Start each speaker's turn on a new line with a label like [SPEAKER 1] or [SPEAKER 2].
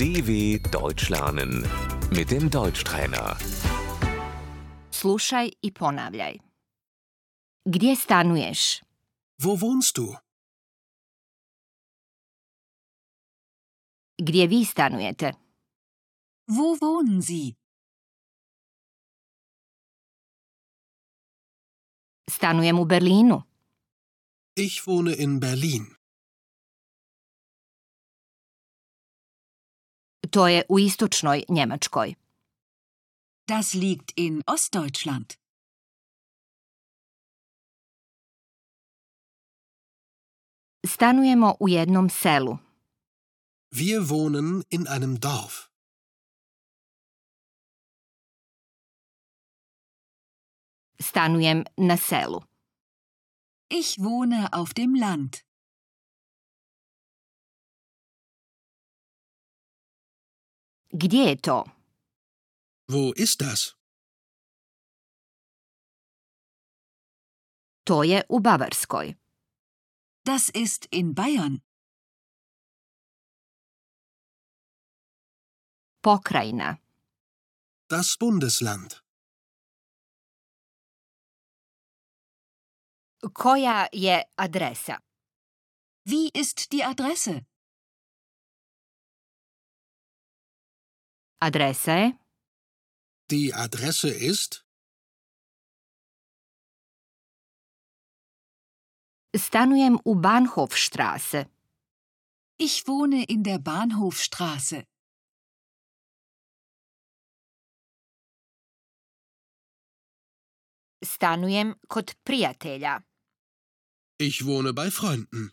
[SPEAKER 1] DW Deutsch lernen mit dem Deutschtrainer.
[SPEAKER 2] Slušaj i ponavljaj. Gdje stanuješ?
[SPEAKER 3] Wo wohnst du?
[SPEAKER 2] Gdje vi stanujete?
[SPEAKER 4] Wo wohnen Sie?
[SPEAKER 2] Stanujem u Berlinu.
[SPEAKER 3] Ich wohne in Berlin.
[SPEAKER 2] To je u istočnoj Njemačkoj.
[SPEAKER 4] Das liegt in Ostdeutschland.
[SPEAKER 2] Stanujemo u jednom selu.
[SPEAKER 3] Wir wohnen in einem Dorf.
[SPEAKER 2] Stanujem na selu.
[SPEAKER 4] Ich wohne auf dem Land.
[SPEAKER 2] Gdje je to?
[SPEAKER 3] Wo ist das?
[SPEAKER 2] To je u Bavarskoj.
[SPEAKER 4] Das ist in Bayern.
[SPEAKER 2] Pokrajina.
[SPEAKER 3] Das Bundesland.
[SPEAKER 2] Koja je adresa?
[SPEAKER 4] Wie ist die Adresse?
[SPEAKER 2] Adresa je
[SPEAKER 3] Die Adresse ist
[SPEAKER 2] Stanujem u Bahnhofstraße.
[SPEAKER 4] Ich wohne in der Bahnhofstraße.
[SPEAKER 2] Stanujem kod prijatelja.
[SPEAKER 3] Ich wohne bei Freunden.